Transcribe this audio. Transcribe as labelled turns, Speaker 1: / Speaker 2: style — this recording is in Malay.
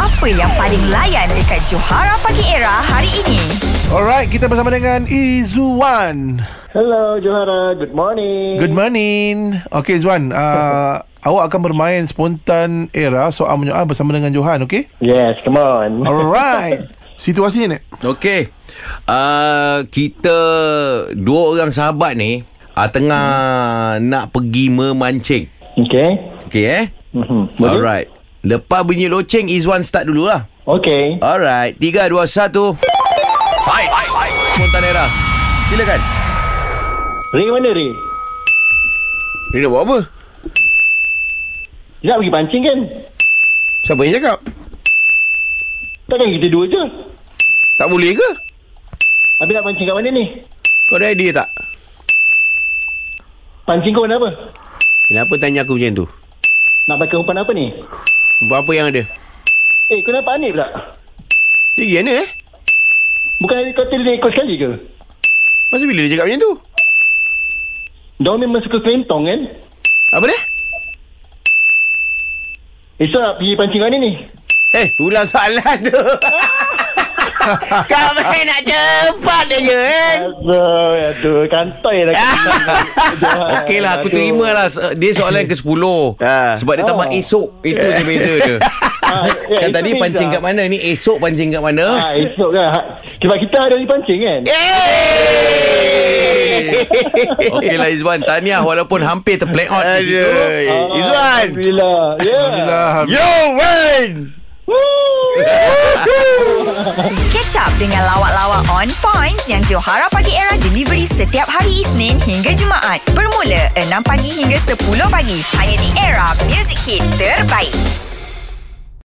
Speaker 1: Apa yang paling layan dekat Johara Pagi Era hari ini?
Speaker 2: Alright, kita bersama dengan Izwan.
Speaker 3: Hello Johara, good morning.
Speaker 2: Good morning. Okay, Izwan. Uh, awak akan bermain spontan era soal menyoal bersama dengan Johan, okay?
Speaker 3: Yes, come on.
Speaker 2: Alright. Situasinya, Nek?
Speaker 4: Okey. Uh, kita dua orang sahabat ni uh, tengah hmm. nak pergi memancing.
Speaker 3: Okay.
Speaker 4: Okey eh?
Speaker 3: Mhm. Boleh?
Speaker 4: Alright. Lepas bunyi loceng Izwan start dululah.
Speaker 3: Okay.
Speaker 4: Alright. 3 2 1. Fight. Montanera. Silakan.
Speaker 3: Ray mana Ray?
Speaker 4: Dia nak buat apa?
Speaker 3: Dia nak pergi pancing kan?
Speaker 4: Siapa yang cakap?
Speaker 3: Takkan kita dua je?
Speaker 4: Tak boleh ke?
Speaker 3: Habis nak pancing kat mana ni?
Speaker 4: Kau ada idea tak?
Speaker 3: Pancing kau warna apa?
Speaker 4: Kenapa tanya aku macam tu?
Speaker 3: Nak pakai umpan apa ni?
Speaker 4: Berapa yang ada?
Speaker 3: Eh, kau nampak aneh pula.
Speaker 4: Dia gimana eh?
Speaker 3: Bukan kau tadi dia ikut sekali ke?
Speaker 4: Masa bila dia cakap macam tu?
Speaker 3: Dia orang memang suka kelentong kan?
Speaker 4: Apa dia?
Speaker 3: Esok nak pergi pancing kat mana ni?
Speaker 4: Eh, ulang soalan tu. Kau main nak cepat je kan?
Speaker 3: Aduh, aduh, kantoi lah.
Speaker 4: Okey lah, aku terima lah. So- Dia soalan ke-10.
Speaker 5: Ha.
Speaker 4: Sebab dia tambah
Speaker 3: Oh.
Speaker 4: esok. Itu je beza dia.
Speaker 3: ya,
Speaker 4: Kan tadi pancing kat mana? Ni esok pancing kat
Speaker 3: Ah,
Speaker 4: mana?
Speaker 3: esok kan. Ha, Sebab kita ada hari pancing kan?
Speaker 4: Eh, Yeay! Okey lah Izwan, tahniah walaupun hampir terplay out di situ.
Speaker 5: Aduh. Izwan.
Speaker 3: Ah, Alhamdulillah. Ya. Yeah.
Speaker 4: Lah,
Speaker 2: Alhamdulillah.
Speaker 5: You win.
Speaker 3: Woo.
Speaker 1: Catch up dengan lawak-lawak on points yang Johara Pagi Era delivery setiap hari Isnin hingga Jumaat. Bermula 6 pagi hingga 10 pagi. Hanya di Era Music Hit Terbaik.